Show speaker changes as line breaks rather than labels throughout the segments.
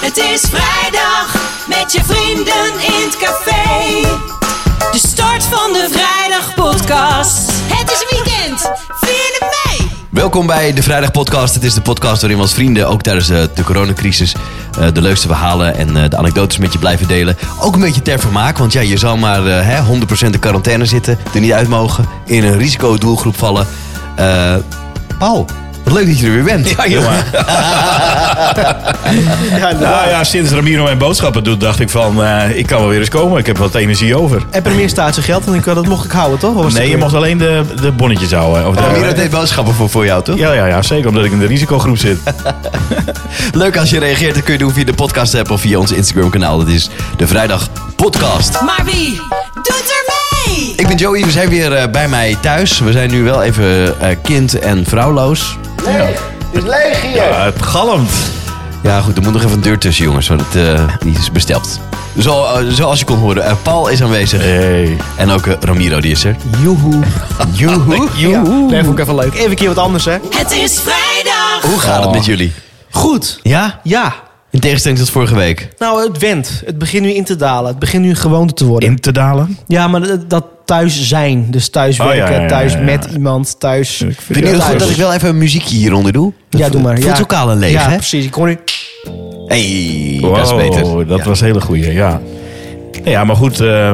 Het is vrijdag met je vrienden in het café. De start van de vrijdag podcast. Het is weekend, 4 mei.
Welkom bij de Vrijdag Podcast. Het is de podcast waarin we als vrienden ook tijdens eh, de coronacrisis eh, de leukste verhalen en eh, de anekdotes met je blijven delen. Ook een beetje ter vermaak, want ja, je zou maar eh, hè, 100% in quarantaine zitten, er niet uit mogen, in een risicodoelgroep vallen. Eh Paul, wat leuk dat je er weer bent. Ja, jongen.
Nou ja, sinds Ramiro mijn boodschappen doet, dacht ik van, eh, ik kan wel weer eens komen. Ik heb wat energie over.
En premier staat zijn geld en ik, dat mocht ik houden, toch? Of was
Nee,
het- Oh,
je mocht alleen de, de bonnetjes houden. Of de-
Ramiro deed boodschappen voor, voor jou, toch?
ja, ja, ja, zeker, omdat ik in de risicogroep zit.
Leuk als je reageert. Dat kun je doen via de podcast app of via ons Instagram kanaal. Dat is de Vrijdag Podcast.
Maar wie doet er mee?
Ik ben Joey, we zijn weer eh, bij mij thuis. We zijn nu wel even eh, kind en vrouwloos.
Ja, het galmt.
Ja, goed, er moet nog even een deur tussen, jongens, want het, eh, die is besteld. Zo, eh, zoals je kon horen, eh, Paul is aanwezig.
Hey.
En ook eh, Ramiro, die is er.
Joehoe.
Joehoe.
Ja, nee, vond ik even leuk. Even een keer wat anders, hè?
Het is vrijdag.
Hoe gaat het met jullie?
Goed.
Ja?
Ja.
In tegenstelling tot vorige week.
Nou, het went. Het begint nu in te dalen. Het begint nu een gewoonte te worden.
In te dalen.
Ja, maar dat, dat thuis zijn. Dus thuis
Oh, ja,
werken,
ja, ja,
thuis
ja.
met iemand, thuis...
Ik vind
Ik vind
het
het
Ja,
goed dat
dus-
ik wel even een muziekje hieronder doe. Dat
Ja, doe maar.
Voelt
ja.
ook al een leeg,
ja,
hè?
precies. Ik hoor nu...
hey,
Wow,
dat is beter.
Dat
Ja.
was een hele goeie, ja. Nou Ja, maar goed, eh,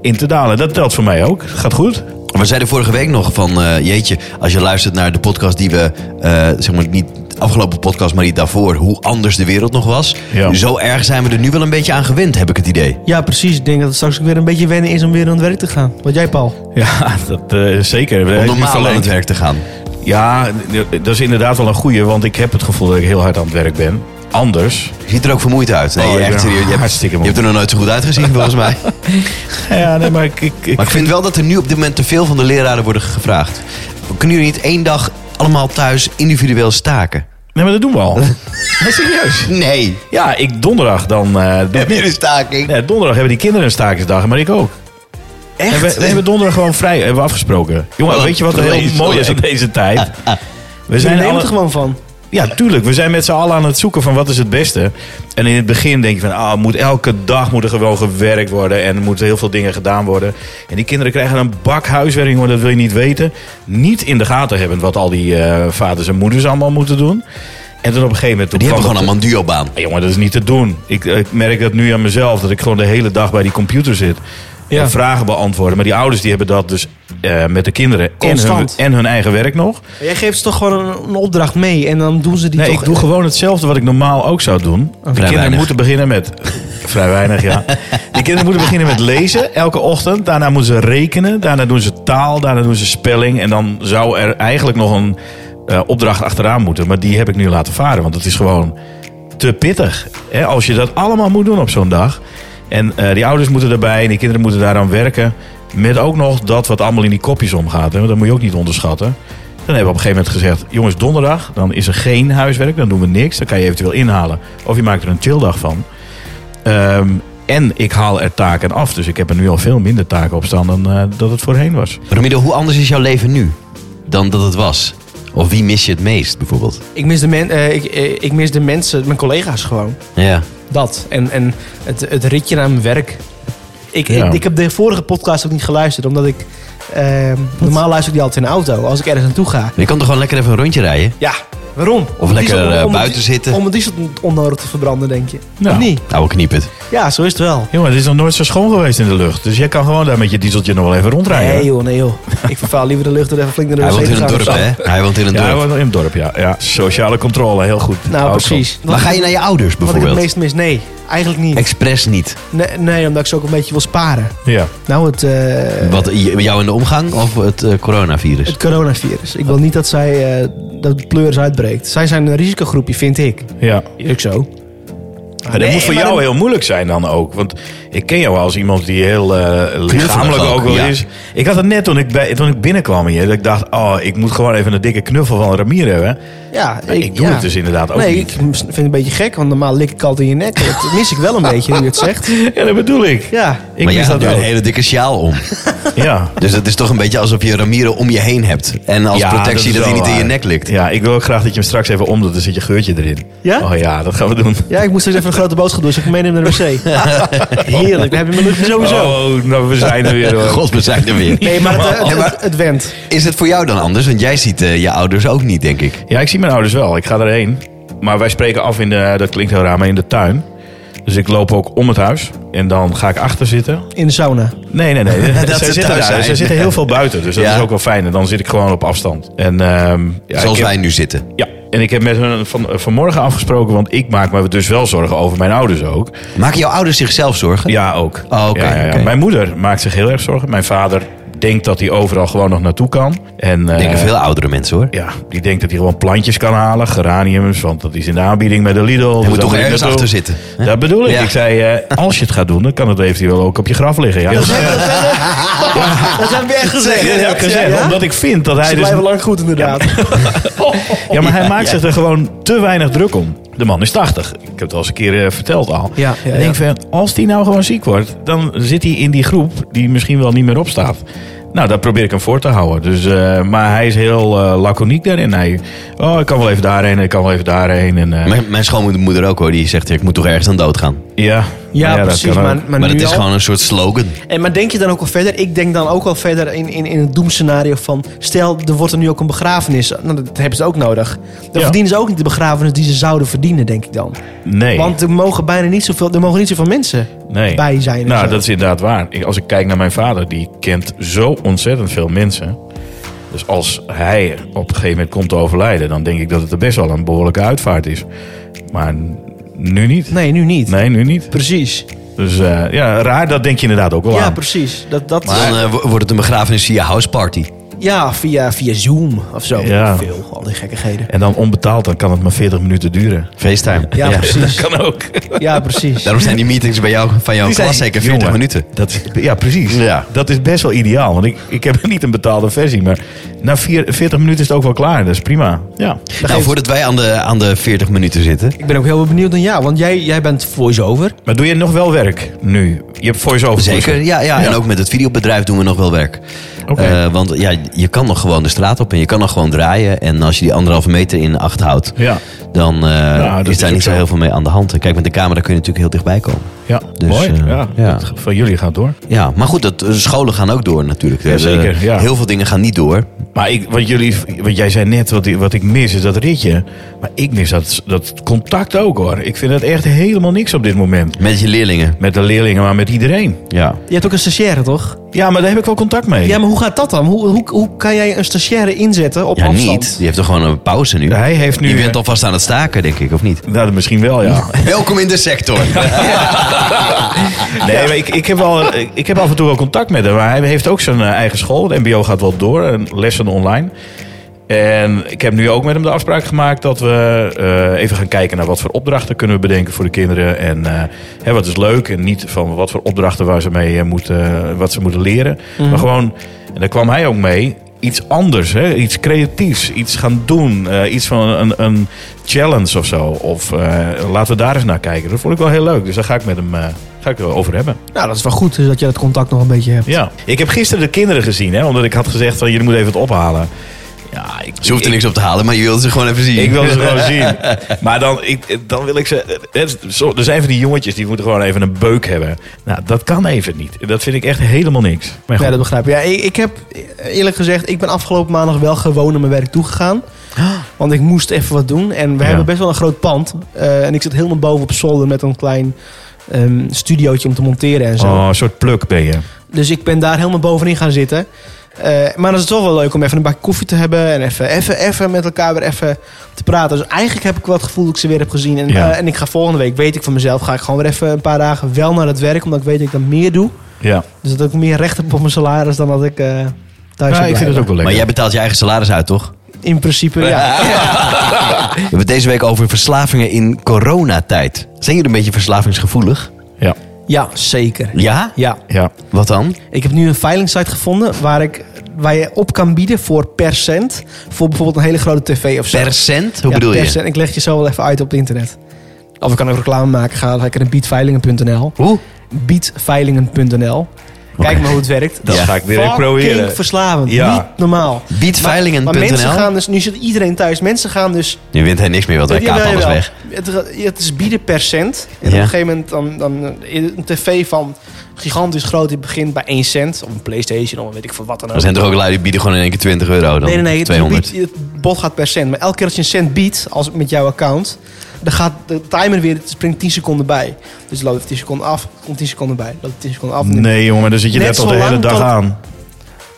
in te dalen, dat telt voor mij ook. Gaat goed.
We zeiden vorige week nog van, eh, jeetje, als je luistert naar de podcast die we, eh, zeg maar niet de afgelopen podcast, maar die daarvoor, hoe anders de wereld nog was.
Ja.
Zo erg zijn we er nu wel een beetje aan gewend, heb ik het idee.
Ja, precies. Ik denk dat het straks ook weer een beetje wennen is om weer aan het werk te gaan. Wat jij, Paul?
Ja, dat eh, zeker.
Om normaal aan het werk te gaan.
Ja, dat is inderdaad wel een goeie, want ik heb het gevoel dat ik heel hard aan het werk ben. Anders.
Je ziet er ook vermoeid uit. Nee,
Oh, ik ben
echt serieus. Je hebt,
hartstikke
je
moe.
hebt er nog nooit zo goed uitgezien, volgens mij.
Ja, nee, maar ik, ik, ik-
Maar ik vind wel dat er nu op dit moment te veel van de leraren worden gevraagd. Kunnen jullie niet één dag allemaal thuis individueel staken?
Nee, maar dat doen we al. Nee, serieus.
Nee.
Ja, ik donderdag dan... eh, doe-
Heb je een staking?
Nee, donderdag hebben die kinderen een stakingsdag, maar ik ook.
Echt? Oh,
En we, we hebben donderdag gewoon vrij, hebben we afgesproken. Jongen,
Wat
weet je wat er
vlees,
heel mooi is
hoor.
in deze tijd? We
Je
zijn
neemt er
alle,
gewoon van.
ja, tuurlijk. We zijn met z'n allen aan het zoeken van wat is het beste. En in het begin denk je van, ah, moet elke dag moet er gewoon gewerkt worden. En er moeten heel veel dingen gedaan worden. En die kinderen krijgen een bak huiswerk, maar dat wil je niet weten. Niet in de gaten hebben wat al die eh, vaders en moeders allemaal moeten doen. En dan op een gegeven moment... toen
Die
kwam
hebben gewoon
het-
allemaal een duobaan.
ja, jongen, dat is niet te doen. Ik, ik merk dat nu aan mezelf, dat ik gewoon de hele dag bij die computer zit.
Ja.
En vragen beantwoorden. Maar die ouders die hebben dat dus eh, met de kinderen en hun,
Constant.
en hun eigen werk nog.
Maar jij geeft ze toch gewoon een, een opdracht mee en dan doen ze die
Nee,
toch...
ik doe gewoon hetzelfde wat ik normaal ook zou doen. De kinderen
weinig.
moeten beginnen met... vrij weinig, ja. De kinderen moeten beginnen met lezen elke ochtend. Daarna moeten ze rekenen. Daarna doen ze taal. Daarna doen ze spelling. En dan zou er eigenlijk nog een eh, opdracht achteraan moeten. Maar die heb ik nu laten varen. Want het is gewoon te pittig. Hè? Als je dat allemaal moet doen op zo'n dag. En eh, die ouders moeten erbij. En die kinderen moeten daaraan werken. Met ook nog dat wat allemaal in die kopjes omgaat. Hè? Want dat moet je ook niet onderschatten. Dan hebben we op een gegeven moment gezegd: jongens, donderdag, dan is er geen huiswerk, dan doen we niks. Dan kan je eventueel inhalen. Of je maakt er een chilldag van. Ehm, en ik haal er taken af. Dus ik heb er nu al veel minder taken op staan dan eh, dat het voorheen was.
Romero, hoe anders is jouw leven nu dan dat het was? Of wie mis je het meest, bijvoorbeeld?
Ik mis de, men, eh, ik, eh, ik mis de mensen, mijn collega's gewoon.
Ja.
Dat. En, en het, het ritje naar mijn werk. Ik,
Ja.
ik, ik heb de vorige podcast ook niet geluisterd, omdat ik... eh, normaal luister ik die altijd in de auto, als ik ergens naartoe ga.
Je kan toch gewoon lekker even een rondje rijden?
Ja, waarom?
Of lekker eh, buiten zitten?
Om het diesel onnodig te verbranden, denk je.
Ja.
Of niet?
Nou, kniep het.
Ja, zo is het wel.
Jongen, het is nog nooit zo schoon geweest in de lucht. Dus jij kan gewoon daar met je dieseltje nog wel even rondrijden.
Nee joh, nee joh. ik vervaal liever de lucht door even flink naar de
Ah, Hij woont in
wc
een
te gaan
dorp,
of zo.
hè? Hij woont in een
ja,
dorp.
wel in het dorp, ja. ja. Sociale controle, heel goed.
Nou,
Ook
precies.
Maar Oh, ga je naar je ouders,
Wat ik het
bijvoorbeeld?
meest mis? Nee, eigenlijk niet.
Expres niet.
Nee, nee, omdat ik ze ook een beetje wil sparen.
zo. Ja.
Nou, het, eh,
Wat, j- jou in de omgang of het eh, coronavirus?
het coronavirus. Ik wil niet dat zij eh, dat de pleurs uitbreekt. Zij zijn een risicogroepje, vind ik.
ja.
Ah,
Is ook zo.
Maar dat
Nee,
moet voor
maar
jou
dan-
heel moeilijk zijn dan ook. Want Ik ken jou als iemand die heel eh, lichamelijk
ook,
ook wel
ja.
is. Ik had het net toen ik, bij, toen ik binnenkwam hier. Dat ik dacht, oh, ik moet gewoon even een dikke knuffel van Ramiro hebben.
Ja,
Maar ik doe
ja.
het dus inderdaad ook
nee,
niet.
ik vind het een beetje gek, want normaal lik ik altijd in je nek. Dat mis ik wel een beetje, nu je het zegt.
Ja, dat bedoel ik.
Ja,
Ik
maar jij
mis
had
dat
nu een
ook.
hele dikke sjaal om.
Ja.
Dus het is toch een beetje alsof je Ramiro om je heen hebt. En als
Ja,
protectie
is
dat, hij
wel
niet in je
waar.
nek likt.
Ja, ik wil ook graag dat je hem straks even omdoet. Dan zit je geurtje erin.
Ja?
Oh ja, dat gaan we doen.
ja, ik moest dus even een grote boodschap doen, dus ik meeneem naar de wc. Heerlijk, dan heb je mijn luchtje sowieso.
Oh, nou, we zijn er weer. hoor.
God, we zijn er weer.
Nee, maar het, eh,
Nee, maar-
het, het went.
Is het voor jou dan anders? Want jij ziet eh, je ouders ook niet, denk ik.
Ja, ik zie mijn ouders wel. Ik ga erheen. Maar wij spreken af in de, dat klinkt heel raar, maar in de tuin. Dus ik loop ook om het huis. En dan ga ik achter zitten.
In de sauna.
Nee, nee, nee.
Dat
zij
ze
zitten
thuis
daar.
zijn.
Zij zitten heel veel buiten. Dus dat
Ja.
is ook wel fijn. En dan zit ik gewoon op afstand. En, ehm, ja,
Zoals
ik heb-
wij nu zitten.
Ja, en ik heb met hun van, vanmorgen afgesproken. Want ik maak me dus wel zorgen over mijn ouders ook.
Maken jouw ouders zichzelf zorgen?
Ja, ook.
Oh, oké,
Ja, ja, ja.
oké.
Mijn moeder maakt zich heel erg zorgen. Mijn vader denkt dat hij overal gewoon nog naartoe kan. En, eh,
Denken veel oudere mensen hoor.
ja, die denkt dat hij gewoon plantjes kan halen, geraniums, want dat is in de aanbieding bij de Lidl. Je
moet toch ergens achter zitten, hè?
Dat bedoel ik.
Ja.
Ik zei, eh, als je het gaat doen, dan kan het eventueel ook op je graf liggen. Ja, dat,
Dat heb je echt gezegd.
dat heb ik gezegd,
Ja?
omdat ik vind dat hij
Ze
dus...
blijven lang goed, inderdaad.
Ja, maar hij maakt zich er gewoon te weinig druk om. De man is 80. Ik heb het al eens een keer eh, verteld al.
Ja, ja,
ik denk van, als die nou gewoon ziek wordt, dan zit hij in die groep die misschien wel niet meer opstaat. Nou, dat probeer ik hem voor te houden. Dus, eh, maar hij is heel eh, laconiek daarin. Hij, oh, ik kan wel even daarheen, ik kan wel even daarheen. En, eh,
Mijn, mijn schoonmoeder ook hoor, die zegt ik moet toch ergens aan doodgaan.
Ja,
Ja,
Nou dat
precies.
kan ook.
Maar, maar,
Maar
nu
dat is
al.
gewoon een soort slogan.
En, maar denk je dan ook al verder? Ik denk dan ook al verder in, in, in het doemscenario van... stel, er wordt er nu ook een begrafenis. Nou, dat hebben ze ook nodig. Dan
Ja.
verdienen ze ook niet de begrafenis die ze zouden verdienen, denk ik dan.
Nee,
Want er mogen bijna niet zoveel, er mogen niet zoveel mensen
nee.
bij zijn. eh, en
Nou,
zo.
dat is inderdaad waar. Ik- als ik kijk naar mijn vader, die kent zo ontzettend veel mensen. Dus als hij op een gegeven moment komt te overlijden, dan denk ik dat het er best wel een behoorlijke uitvaart is. Maar n- nu niet.
Nee, nu niet.
Nee, nu niet.
Precies.
Dus eh, ja, raar, dat denk je inderdaad ook wel
Ja,
aan.
precies. Dat, dat,
Dan eh, wo- wordt het een begrafenis via houseparty.
ja, via, via Zoom of zo.
Ja.
Veel, al die gekkigheden.
En dan onbetaald, dan kan het maar 40 minuten duren.
FaceTime.
Ja, precies.
Kan ook.
Ja, precies.
Daarom zijn die meetings bij jou, van jouw
Die
klas
zijn-
zeker 40
jongen,
minuten.
Dat is, ja, precies.
Ja.
Dat is best wel ideaal. Want ik, ik heb niet een betaalde versie. Maar na vier- 40 minuten is het ook wel klaar. Dat is prima. Ja.
Nou, voordat wij aan de, aan de 40 minuten zitten.
Ik ben ook heel benieuwd naar jou, want jij, jij bent voice-over.
Maar doe je nog wel werk nu? Je hebt voice-over.
Zeker, ja, ja. En ook met het videobedrijf doen we nog wel werk.
Oké.
Eh, want ja, je kan nog gewoon de straat op en je kan nog gewoon draaien. En als je die anderhalve meter in acht houdt,
Ja. Nou,
dan eh,
dat
is
is
daar
ook
niet zo
zo.
heel veel mee aan de hand. En Kijk, met de camera kun je natuurlijk heel dichtbij komen.
Ja,
Dus,
mooi.
eh,
ja.
ja.
Dat Van jullie gaat door.
Ja, maar goed, dat, eh, scholen gaan ook door natuurlijk. Dus, eh,
zeker, ja.
Heel veel dingen gaan niet door.
Maar ik, wat, jullie, wat jij zei net, wat, ik- wat ik mis is dat ritje. Maar ik mis dat, dat contact ook hoor. Ik vind dat echt helemaal niks op dit moment.
Met je leerlingen.
Met de leerlingen, maar met iedereen.
Ja.
Je hebt ook een stagiaire, toch?
Ja, maar daar heb ik wel contact mee.
Ja, maar hoe gaat dat dan? Hoe, hoe, hoe kan jij een stagiaire inzetten op
Ja,
afstand?
niet. Die heeft er gewoon een pauze nu.
Hij heeft nu... eh.
Je bent alvast aan het staken, denk ik, of niet?
Nou, misschien wel, ja.
Welkom in de sector.
Nee, maar ik, ik, heb wel, ik heb af en toe wel contact met hem. Maar hij heeft ook zijn eh, eigen school. Het mbo gaat wel door. En lessen online. En ik heb nu ook met hem de afspraak gemaakt dat we eh, even gaan kijken naar wat voor opdrachten kunnen we bedenken voor de kinderen. En eh, hè, wat is leuk en niet van wat voor opdrachten waar ze mee eh, moeten, wat ze moeten leren. Maar gewoon, en daar kwam hij ook mee, iets anders, hè? iets creatiefs, iets gaan doen. eh, iets van een, een challenge of zo. Of eh, laten we daar eens naar kijken. Dat vond ik wel heel leuk, dus daar ga ik met hem eh, ga ik er over hebben.
Nou, dat is wel goed dus dat je dat contact nog een beetje hebt.
Ja. Ik heb gisteren de kinderen gezien, hè, omdat ik had gezegd van jullie moeten even het ophalen. Ja, ik,
Ze hoeft er
ik-
niks op te halen, maar je wilde ze gewoon even zien.
ik wil ze gewoon zien. Maar dan, ik, dan wil ik ze... het- zo- Er zijn van die jongetjes die moeten gewoon even een beuk hebben. Nou, dat kan even niet. Dat vind ik echt helemaal niks. Maar
Ja,
goed.
dat begrijp ik. Ja, ik, ik heb eerlijk gezegd, ik ben afgelopen maandag wel gewoon naar mijn werk toegegaan. Want ik moest even wat doen. En we
Ah. Ja.
hebben best wel een groot pand. Eh, en ik zit helemaal boven op zolder met een klein ehm studiootje om te monteren en zo.
oh, een soort pluk ben je.
Dus ik ben daar helemaal bovenin gaan zitten. Eh, maar dan is het toch wel leuk om even een bak koffie te hebben. En even, even, even met elkaar weer even te praten. Dus eigenlijk heb ik wel het gevoel dat ik ze weer heb gezien. En,
Ja.
eh, en ik ga volgende week, weet ik van mezelf, ga ik gewoon weer even een paar dagen wel naar het werk. Omdat ik weet dat ik dan meer doe.
Ja.
Dus dat ik meer recht heb op mijn salaris dan dat ik eh, thuis
Ja,
heb.
ik vind het ook wel leuk.
Maar jij betaalt je eigen salaris uit, toch?
In principe, ja.
We hebben het deze week over verslavingen in coronatijd. Zijn jullie een beetje verslavingsgevoelig?
Ja.
Ja, zeker.
Ja?
Ja.
Ja.
Wat dan?
Ik heb nu een veilingsite gevonden waar, ik, waar je op kan bieden voor per cent. Voor bijvoorbeeld een hele grote tv of zo.
Percent? Hoe
Ja,
bedoel
per
je?
cent. Ik leg je zo wel even uit op het internet. Of ik kan ook reclame maken. Ga lekker naar biedveilingen.nl.
Hoe?
Biedveilingen.nl. Kijk maar hoe het werkt.
Dat
Ja.
ga ik direct proberen.
Fucking verslavend.
Ja.
Niet normaal. Maar mensen
Biedveilingen.nl?
gaan dus, nu zit iedereen thuis, mensen gaan dus...
Nu wint hij niks meer, want hij
Jawel,
kaapt alles
jawel.
weg.
Het, het is bieden per cent. En
Ja.
op een gegeven moment dan, dan eh, een tv van gigantisch groot, die begint bij 1 cent. Of een Playstation, of weet ik veel wat dan ook.
Er zijn er ook lui die bieden gewoon in één keer 20 euro dan.
Nee, nee, nee. het
200.
biedt- het bod gaat per cent. Maar elke keer als je een cent biedt, als met jouw account, dan gaat de timer weer, het springt 10 seconden bij. Dus het loopt 10 seconden af, komt 10 seconden bij, loopt 10 seconden af.
Nee, jongen, maar dan zit je
Net
net tot
zo
de hele
lang
dag
tot-
aan.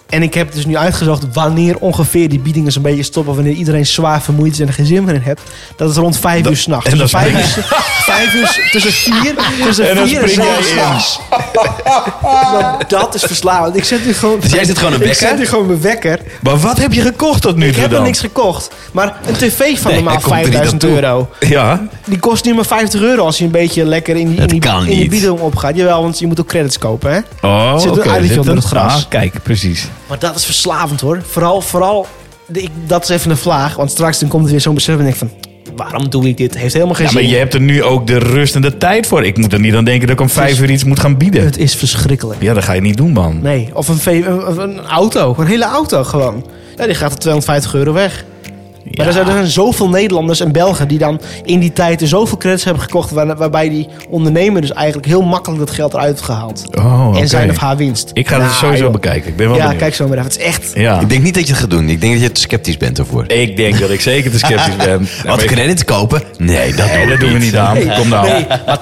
En ik heb dus nu uitgezocht wanneer ongeveer die biedingen zo'n beetje stoppen. Wanneer iedereen zwaar vermoeid is en er geen zin meer in hebt. Dat is rond vijf
Dat-
uur s'nachts.
en
Tussen
dat
vijf uur, vijf uur, tussen vier, tussen
En dan
vier en
spring jij
zes
in.
s'nachts. Nou, dat is verslavend. Ik zet nu gewoon...
Dus jij zet gewoon een
Ik
wekker?
zet nu gewoon mijn wekker.
Maar wat heb je gekocht tot nu
Ik
toe
heb nog
dan?
niks gekocht. Maar een tv van
Nee,
normaal
hij komt er niet aan
5000
toe.
euro.
Ja.
Die kost nu maar 50 euro als je een beetje lekker in die, in
Dat
die,
kan
in die
niet.
bieding opgaat. Jawel, want je moet ook credits kopen, hè?
Oh,
Zit er
oké,
een eilandje
zit
onder
er-
het gras?
Ah, kijk, precies.
Maar dat is verslavend hoor. Vooral, vooral de- ik, dat is even een vlaag. Want straks dan komt er weer zo'n besef en denk ik van... Waarom doe ik dit? Heeft helemaal geen
Ja, maar
zin.
je hebt er nu ook de rust en de tijd voor. Ik moet er niet aan denken dat ik om vijf uur iets moet gaan bieden.
Dus Het is verschrikkelijk.
Ja, dat ga je niet doen, man.
Nee, of een, v- of een auto. Een hele auto gewoon. Ja, die gaat er 250 euro weg. Maar er zijn, er zijn zoveel Nederlanders en Belgen die dan in die tijd er zoveel credits hebben gekocht... waar- waarbij die ondernemer dus eigenlijk heel makkelijk dat geld eruit heeft gehaald.
Oh, oké.
En zijn of haar winst.
Ik ga het
Nou,
sowieso
joh.
bekijken. Ik ben wel
Ja,
benieuwd.
kijk zo maar even. Het is echt...
Ja.
Ik denk niet dat je het gaat doen. Ik denk dat je te sceptisch bent ervoor.
Ik denk dat ik zeker te sceptisch ben.
Wat credits kopen? Nee, dat
Nee,
doen we
dat doen we niet aan. Kom nou.
Nee, maar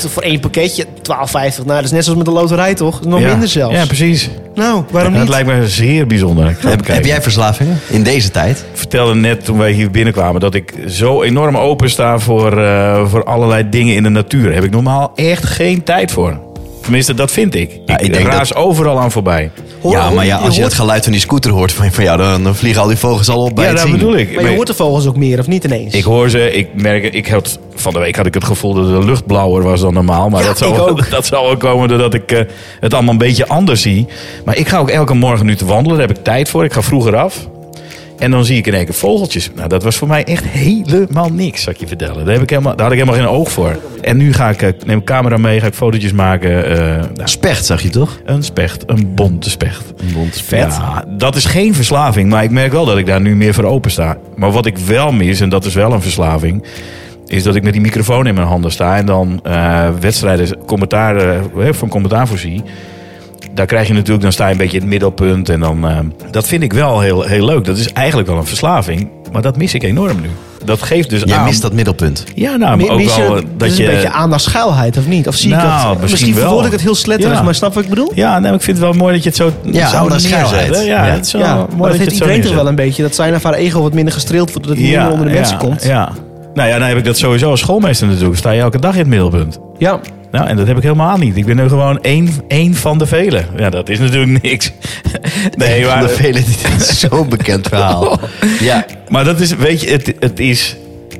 12,50 voor één pakketje. 12,50. Nou, dat is net zoals met de loterij, toch? Dat is nog
Ja.
minder zelfs.
Ja, precies.
nou, waarom
Dat
niet?
lijkt me zeer bijzonder. Ik ga
Heb,
bekijken.
heb jij verslavingen in deze tijd?
Ik vertelde net toen wij hier binnenkwamen dat ik zo enorm open sta voor, eh, voor allerlei dingen in de natuur. Daar heb ik normaal echt geen tijd voor. Tenminste, dat vind ik. Ik,
Ja, ik denk
raas overal aan voorbij.
Hoor-
ja, maar ja, als je
hoort,
het geluid van die scooter hoort van, van jou, dan, dan vliegen al die vogels al op bij
ja,
het
dat
zien.
bedoel ik.
Maar je hoort de vogels ook meer, of niet ineens?
Ik hoor ze, ik merk het. Ik had, van de week had ik het gevoel dat de lucht blauwer was dan normaal. Maar
Ja,
dat,
ik
zal,
ook.
dat zal ook komen doordat ik eh, het allemaal een beetje anders zie. Maar ik ga ook elke morgen nu te wandelen. Daar heb ik tijd voor. Ik ga vroeger af. En dan zie ik in één keer vogeltjes. Nou, dat was voor mij echt helemaal niks, zal ik je vertellen. Daar, heb ik helemaal, daar had ik helemaal geen oog voor. En nu ga ik, eh, neem ik camera mee, ga ik fotootjes maken. eh, nou,
Specht zag je toch?
een specht, een bonte specht.
Een
Ja, dat is geen verslaving, maar ik merk wel dat ik daar nu meer voor open sta. Maar wat ik wel mis, en dat is wel een verslaving, is dat ik met die microfoon in mijn handen sta en dan eh, wedstrijden, commentaar, eh, van commentaar voorzie. Daar krijg je natuurlijk, dan sta je een beetje in het middelpunt. En dan, eh, dat vind ik wel heel, heel leuk. Dat is eigenlijk wel een verslaving, maar dat mis ik enorm nu. Dat geeft dus
Jij
aan...
mist dat middelpunt.
Ja, nou, maar
Mi-
ook
mis je-
wel eh,
dat,
dat
is
je...
een beetje aandachtschuilheid, of niet? Of zie
Nou,
ik dat?
misschien wel.
verwoord ik het heel sletterig,
Ja.
maar snap wat ik bedoel?
Ja, nee, maar ik vind het wel mooi dat je het zo...
Ja,
zo
oude
neerzet,
schuilheid.
hè? Ja,
Ja.
het is wel
Ja,
mooi
maar dat
je
heeft
het zo
iedereen toch
neerzet.
wel een beetje. Dat zijn of haar ego wat minder gestreeld wordt, dat het minder onder de mensen
ja,
komt. Ja.
Ja. Nou ja, dan heb ik dat sowieso als schoolmeester natuurlijk. Sta je elke dag in het middelpunt. Nou, en dat heb ik helemaal niet. Ik ben nu gewoon één, één van de velen. Ja, dat is natuurlijk niks. Nee,
Van de
maar,
vele die dit is zo'n bekend verhaal. Ja,
maar dat is, weet je, het, het is...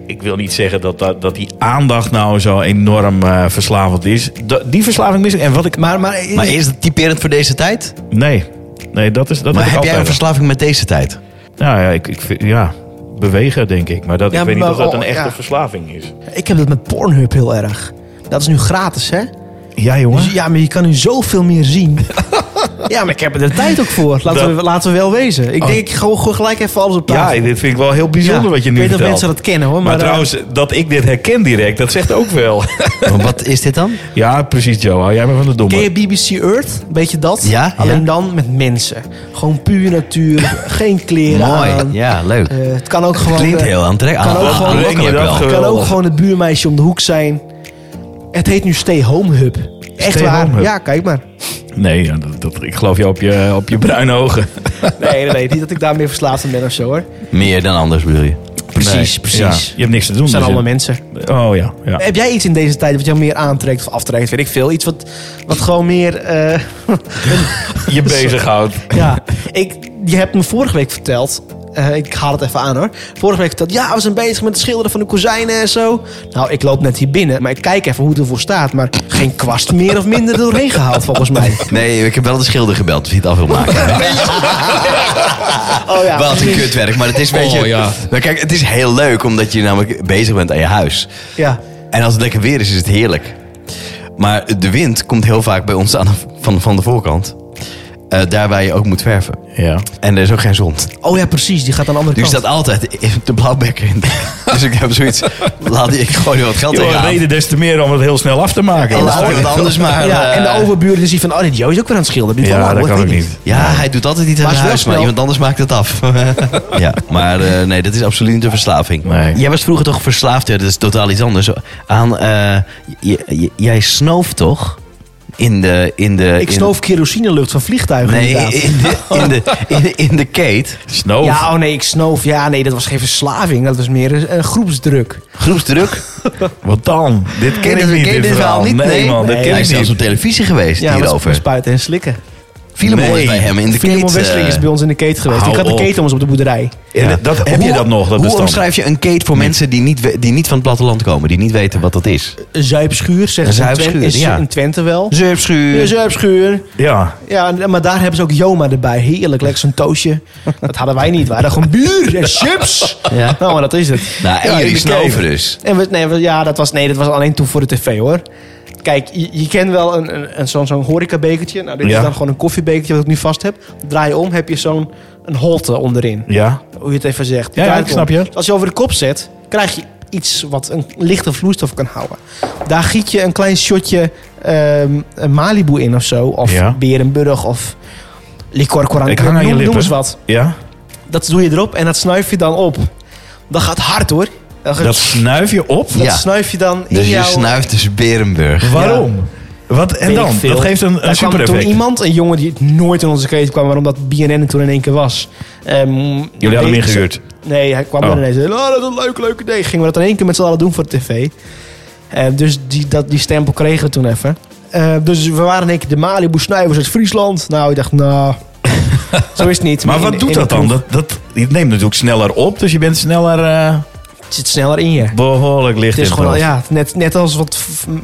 Ik wil niet zeggen dat, dat, dat die aandacht nou zo enorm eh, verslavend is. Da- die verslaving mis ik. En wat ik...
Maar, maar,
maar is dat typerend voor deze tijd?
Nee, nee, dat is... Dat
Maar
heb,
heb
ik
jij een
altijd.
verslaving met deze tijd?
Nou ja, ik, ik, vind- ja, bewegen denk ik. Maar dat,
Ja,
ik weet niet
maar
of dat
wel,
een echte
ja.
verslaving is.
ik heb dat met Pornhub heel erg. Dat is nu gratis, hè?
Ja, jongen.
Dus ja, maar je kan nu zoveel meer zien. ja, maar ik heb er de tijd ook voor. Laten,
Dat- Oh.
we, laten we wel wezen. Ik denk, ik gooi gooi gelijk even alles op
Ja,
tafel.
dit vind ik wel heel bijzonder
Ja,
wat je
ik
nu
weet dat
vertelt.
mensen dat kennen, hoor,
Maar,
maar, eh,
trouwens, dat ik dit herken direct, dat zegt ook wel.
Maar Wat is dit dan?
ja, precies Joe, hou jij maar van de domme.
Ken je BBC Earth? Beetje dat?
Ja,
Alleen
ja.
dan met mensen. Gewoon puur natuur. geen kleren
Mooi.
aan.
Ja, leuk.
Eh, het kan ook gewoon...
Klinkt
eh,
heel aantrekkelijk.
kan ook gewoon-
Aanlokkelijk
Breng je dat
wel.
ge-
Het kan ook
geweldig.
gewoon het buurmeisje om de hoek zijn. Het heet nu Stay Home Hub. Echt
Stay
waar?
Home Hub.
Ja, kijk maar.
Nee, ja, dat, dat- ik geloof je op je, op je bruine ogen.
Nee, nee, nee, niet dat ik daarmee verslaafd aan ben of zo hoor.
Meer dan anders bedoel je?
Precies,
Nee, ja,
precies.
je hebt niks te doen.
Het zijn
dus
allemaal mensen.
je- Oh ja, ja.
Heb jij iets in deze tijd wat jou meer aantrekt of aftrekt? Weet ik veel. Iets wat, wat gewoon meer... eh,
je bezighoudt.
ja, ik, je hebt me vorige week verteld eh, ik haal het even aan hoor. Vorige week verteld, ja, we zijn bezig met het schilderen van de kozijnen en zo. Nou, ik loop net hier binnen, maar ik kijk even hoe het ervoor staat. Maar geen kwast meer of minder er doorheen gehaald volgens mij.
Nee, ik heb wel de schilder gebeld of hij het af wil maken.
Oh ja,
Wat een
precies.
kutwerk. Maar het is een beetje...
Oh, ja.
Nou, kijk, het is heel leuk omdat je namelijk bezig bent aan je huis.
Ja.
En als het lekker weer is, is het heerlijk. Maar de wind komt heel vaak bij ons aan de- van, van de voorkant. Eh, daar waar je ook moet verven.
Ja.
En er is ook geen zon.
Oh ja, precies, die gaat aan de andere
Dus
kant.
staat altijd in de blauwbekker in. Dus ik heb zoiets... Laat, die- ik gooi er wat geld
Joh,
tegenaan.
reden des te meer om het heel snel af te maken.
En laat ik het anders maar...
ja,
eh,
en de overburen zien van, oh, dit Joe is ook weer aan het schilderen.
Ja,
Die van, nou,
dat
hoor,
kan
weet
ook
ik
niet.
Ja, hij doet altijd iets aan
Maar
zijn
het
huis,
is wel
maar
snel.
iemand anders maakt het af. ja, maar eh, nee, dat is absoluut niet een verslaving.
Nee.
Jij was vroeger toch verslaafd, ja, dat is totaal iets anders. Aan, eh, j- j- jij snoof toch? In de... In de
Ik
in-
snoof kerosinelucht van vliegtuigen
Nee,
inderdaad.
in de, in, de, in, de, in de keet.
Snoof.
Ja, oh nee, ik snoof. Ja, nee, dat was geen verslaving. Dat was meer een, een groepsdruk.
Groepsdruk.
Wat dan? Dit ken
Ken
ik
je-
niet,
ken je
dit
dit verhaal
verhaal.
niet?
Nee,
Nee.
man, dit
Nee.
ken
Hij is
ik niet.
zelfs op televisie geweest
Ja, dat was
hierover.
spuiten en slikken.
Filemon
Nee.
is bij hem in de keet.
Filemon
eh,
Wesseling is bij ons in de keet geweest.
hou
ik had de
op.
keet om ons op de boerderij.
Ja, dat, heb je
Hoe-
dat nog, dat
hoe
bestand?
omschrijf je een keet voor mensen die niet, we- die niet van het platteland komen? Die niet weten wat dat is?
Een zuipschuur, zeggen ze in
zuipschuur,
Twente- is
ja.
in Twente wel.
Zurpschuur.
Een zuipschuur.
Ja,
Ja, maar daar hebben ze ook Joma erbij. Heerlijk, lekker zo'n toosje. Dat hadden wij niet. We hadden gewoon bier en chips.
Ja.
Nou, maar dat is het.
Nou, en
Ja, in
jullie
de
snoven
keet.
dus.
En we, nee, we- ja, dat was, nee, dat was alleen toen voor de tv hoor. Kijk, je, je kent wel een, een, een, zo'n zo'n horecabekertje. Nou, dit
Ja.
is dan gewoon een koffiebekertje wat ik nu vast heb. Draai je om, heb je zo'n een holte onderin.
ja.
Hoe je het even zegt.
Ja, ja,
Draai
ik
het
snap
om.
je.
Dus Als je over de kop zet, krijg je iets wat een lichte vloeistof kan houden. Daar giet je een klein shotje ehm, een Malibu in of zo. Of
Ja.
Berenburg of Licor
Ik
Coran.
hang aan je
Noem, noem
lippen.
eens wat.
ja.
Dat doe je erop en dat snuif je dan op. Dat gaat hard hoor. Dat, gaat-
Dat snuif je op?
dat
Ja.
snuif je dan in
Dus je
jouw...
snuift dus Berenburg.
Waarom? Wat, en
Weet ik
dan?
veel.
Dat geeft een,
Daar
een
kwam
super
toen iemand, een jongen die nooit in onze keten kwam... maar omdat BNN er toen in één keer was. Ehm,
Jullie hadden hem
weet-
ingehuurd.
Nee, hij kwam
Oh.
er ineens. en zei, Oh, dat is een leuk, leuke idee. Gingen we dat in één keer met z'n allen doen voor de tv. Eh, dus die, dat, die stempel kregen we toen even. Eh, dus we waren in één keer de Malibu snuivers uit Friesland. Nou, ik dacht, nou... zo is het niet.
Maar
In-
wat
in
doet
de
dat dan?
kroeg
Dat, dat, je neemt natuurlijk sneller op, dus je bent sneller eh,
zit sneller in je.
behoorlijk licht
Het is
in
gewoon,
brand.
ja, net, net als wat v- m-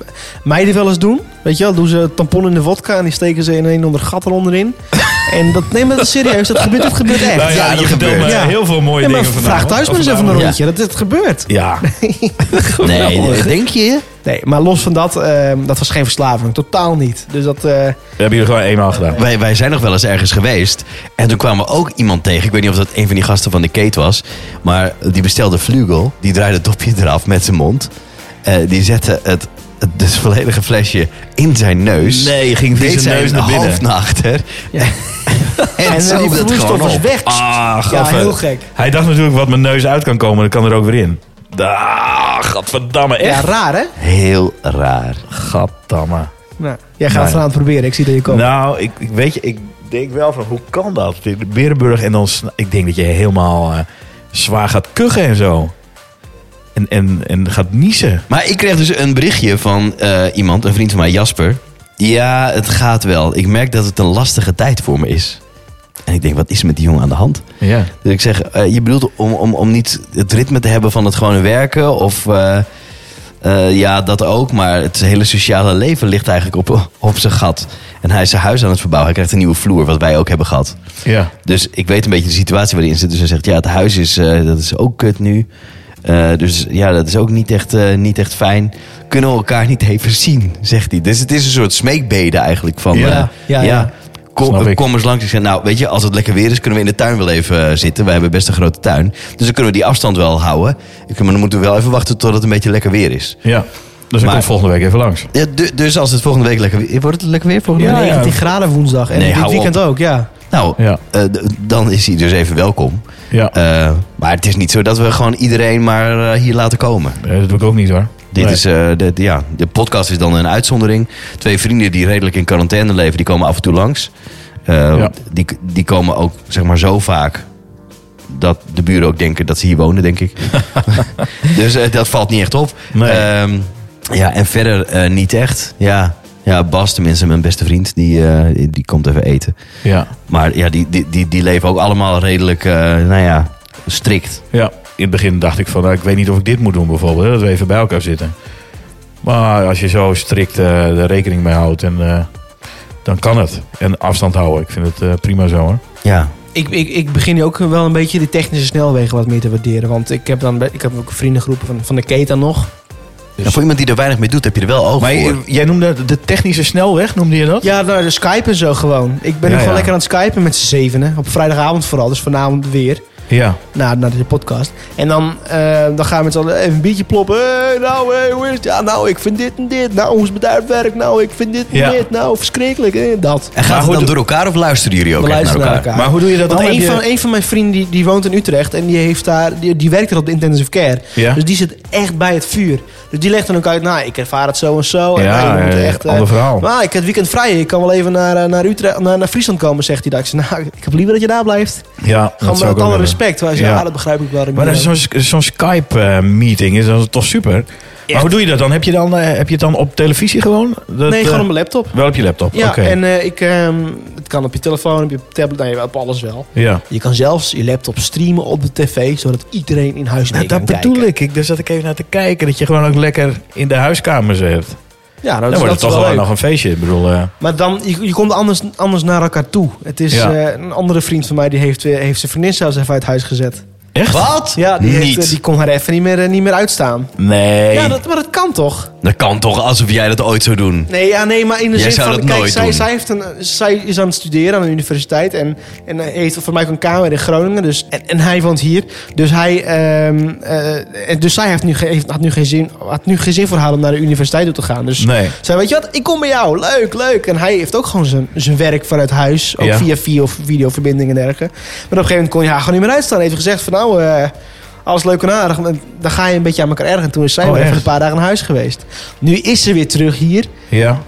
meiden wel eens doen. Weet je wel, doen ze tampon in de vodka en die steken ze in een onder gat eronderin. en dat neem dat serieus, dat gebeurt, dat gebeurt echt.
Nou ja,
Ja, dat
je vertelt
gebeurt.
me
Ja.
heel veel mooie
Ja, maar
dingen
vraag
vanavond.
thuis maar eens
Of
even een
vanavond.
rondje, dat dit gebeurt.
Ja,
Nee, denk je?
Nee, maar los van dat, ehm, dat was geen verslaving, totaal niet. Dus dat, eh,
dat hebben jullie gewoon eenmaal gedaan.
Wij, wij zijn nog wel eens ergens geweest. En toen kwamen we ook iemand tegen. Ik weet niet of dat een van die gasten van de Kate was. Maar die bestelde Vlugel. Die draaide het dopje eraf met zijn mond. Eh, die zette het, het, dus het volledige flesje in zijn neus.
Nee, ging
Deed
deze
zijn
neus naar binnen.
hoofd naar achter. en,
en
zo
die
dat
vloeistof
gewoon
was
op.
weg.
Ah,
ja,
gaffe.
heel gek.
Hij dacht natuurlijk wat mijn neus uit kan komen, dat kan er ook weer in. Ah, gadverdamme,
Ja,
echt.
raar hè?
Heel raar.
gaddamme.
Nou, jij gaat het
Nee.
eraan proberen, ik zie dat je komt.
Nou, ik, ik weet je, ik denk wel van hoe kan dat? De Berenburg en dan, sna- ik denk dat je helemaal eh, zwaar gaat kuchen en zo. En, en, en gaat niezen.
Maar ik kreeg dus een berichtje van eh, iemand, een vriend van mij, Jasper. Ja, het gaat wel. Ik merk dat het een lastige tijd voor me is. En ik denk, wat is er met die jongen aan de hand?
Ja.
Dus ik zeg, eh, je bedoelt om, om, om niet het ritme te hebben van het gewone werken? Of eh, eh, ja, dat ook. Maar het hele sociale leven ligt eigenlijk op, op zijn gat. En hij is zijn huis aan het verbouwen. Hij krijgt een nieuwe vloer, wat wij ook hebben gehad.
ja.
Dus ik weet een beetje de situatie waarin hij zit. Dus hij zegt, ja, het huis is, eh, dat is ook kut nu. Eh, dus ja, dat is ook niet echt, eh, niet echt fijn. Kunnen we elkaar niet even zien, zegt hij. Dus het is een soort smeekbeden eigenlijk. Van,
Ja,
eh,
ja,
ja.
Kom,
Snap ik.
kom eens langs. Ik zeg, nou, weet je, als het lekker weer is, kunnen we in de tuin wel even eh, zitten. Wij hebben best een grote tuin. Dus dan kunnen we die afstand wel houden. Ik zeg, maar dan moeten we wel even wachten tot het een beetje lekker weer is.
ja. Dus ik
Maar-
kom volgende week even langs.
Ja, du- dus als het volgende week lekker weer... Wordt het lekker weer volgende
Ja,
week?
ja.
19 graden woensdag en
Nee,
dit
hou op.
weekend ook, ja.
Nou,
Ja.
eh, d- dan is hij dus even welkom.
Ja.
Eh, maar het is niet zo dat we gewoon iedereen maar eh, hier laten komen.
Nee, dat doe ik ook niet hoor.
Dit
Nee.
is, eh, de, de- ja, de podcast is dan een uitzondering. Twee vrienden die redelijk in quarantaine leven, die komen af en toe langs. Eh,
Ja.
die, die komen ook zeg maar, zo vaak dat de buren ook denken dat ze hier wonen, denk ik. dus eh, dat valt niet echt op.
Nee.
Ehm, ja, en verder eh, niet echt. Ja. ja, Bas, tenminste mijn beste vriend, die, eh, die- die komt even eten.
Ja.
Maar ja, die, die, die, die leven ook allemaal redelijk, eh, nou ja, strikt.
Ja, in het begin dacht ik van, nou, ik weet niet of ik dit moet doen bijvoorbeeld. Hè, dat we even bij elkaar zitten. Maar als je zo strikt eh er rekening mee houdt, en, eh, dan kan het. En afstand houden, ik vind het eh, prima zo hoor.
Ja.
Ik, ik, ik begin nu ook wel een beetje de technische snelwegen wat meer te waarderen. Want ik heb, dan, bij- ik heb ook vriendengroepen van, van de Keta nog. Dus-
En voor iemand die er weinig mee doet, heb je er wel oog
Maar
voor.
je- jij noemde de technische snelweg, noemde je dat?
Ja, nou, de Skype en zo gewoon. Ik
Ja,
ben nu gewoon
ja.
lekker aan het skypen met z'n zevenen. Op vrijdagavond vooral, dus vanavond weer.
Ja.
naar, naar de podcast. En dan, eh, dan gaan we met z'n allen even een biertje ploppen. Hey, nou, hey, hoe is het? Ja, nou, ik vind dit en dit. Nou, hoe is mijn duidwerk? Nou, ik vind dit en
Ja.
dit. Nou, verschrikkelijk. Eh, dat.
En gaat
Maar
het
goed,
dan door elkaar of luisteren jullie ook
We
echt
luisteren
naar
naar
elkaar?
elkaar.
Maar hoe doe je dat
Want
dan?
een
Heb
van,
je-
een van mijn vrienden die, die woont in Utrecht en die, heeft daar, die, die werkt er op de intensive care.
Ja.
Dus die zit echt bij het vuur. Dus die legt dan ook uit, nou, ik ervaar het zo en zo. En
Ja,
nou, je moet
ja, ja,
echt, eh,
ander verhaal.
nou, ik heb het weekend vrij. Ik kan wel even naar, eh, naar, Utrecht, naar, naar Friesland komen, zegt hij. daar. Ik zeg, nou, ik heb liever dat je daar blijft.
Ja,
Gewoon
zou ik
met
ook
alle
willen.
respect. Hij zei,
Ja.
ah, dat begrijp ik wel.
Maar dat is
Ramiro.
zo'n zo'n Skype-meeting is dat toch super? Maar hoe doe je dat dan? Heb je, dan, eh, heb je het dan op televisie gewoon? Dat,
Nee, gewoon
eh,
op mijn laptop.
Wel op je laptop?
Ja,
Oké.
en eh, ik, ehm, het kan op je telefoon, op je tablet, nee, op alles wel.
ja.
Je kan zelfs je laptop streamen op de tv, zodat iedereen in huis mee
Nou,
kan
dat bedoel
kijken.
ik. ik. Daar zat ik even naar te kijken. Dat je gewoon ook lekker in de huiskamer zit.
Ja, nou,
Dan
dat,
wordt het
dat is
toch
wel
wel
leuk.
nog een feestje. Ik bedoel, eh,
Maar dan, je, je komt anders, anders naar elkaar toe. Het is
Ja.
eh, een andere vriend van mij, die heeft, eh, heeft zijn vriendin zelfs even uit huis gezet.
echt?
Wat?
Ja, die, heeft,
Niet.
eh, die kon haar even niet meer, eh, niet meer uitstaan.
Nee.
Ja, dat, maar dat kan toch?
Dat kan toch, alsof jij dat ooit zou doen.
Nee, ja, nee, maar in de
Jij
zin
zou
van...
dat
kijk,
nooit
zij,
doen.
zij, heeft een, zij is aan het studeren aan de universiteit. En, en heeft voor mij ook een kamer in Groningen. Dus, en, en hij woont hier. Dus, hij, ehm, eh, en dus zij heeft nu, ge- heeft, had, nu geen zin, had nu geen zin voor haar om naar de universiteit toe te gaan. Dus
Nee.
zij weet je wat, ik kom bij jou. Leuk, leuk. En hij heeft ook gewoon zijn, zijn werk vanuit huis. Ook
Ja.
via via of videoverbinding en dergelijke. Maar op een gegeven moment kon je haar gewoon niet meer uitstaan. Hij heeft gezegd van nou... eh, alles leuk en aardig, maar dan ga je een beetje aan elkaar ergen. En toen is zij
Oh,
weer even
echt?
een paar dagen naar huis geweest. Nu is ze weer terug hier.
Ja,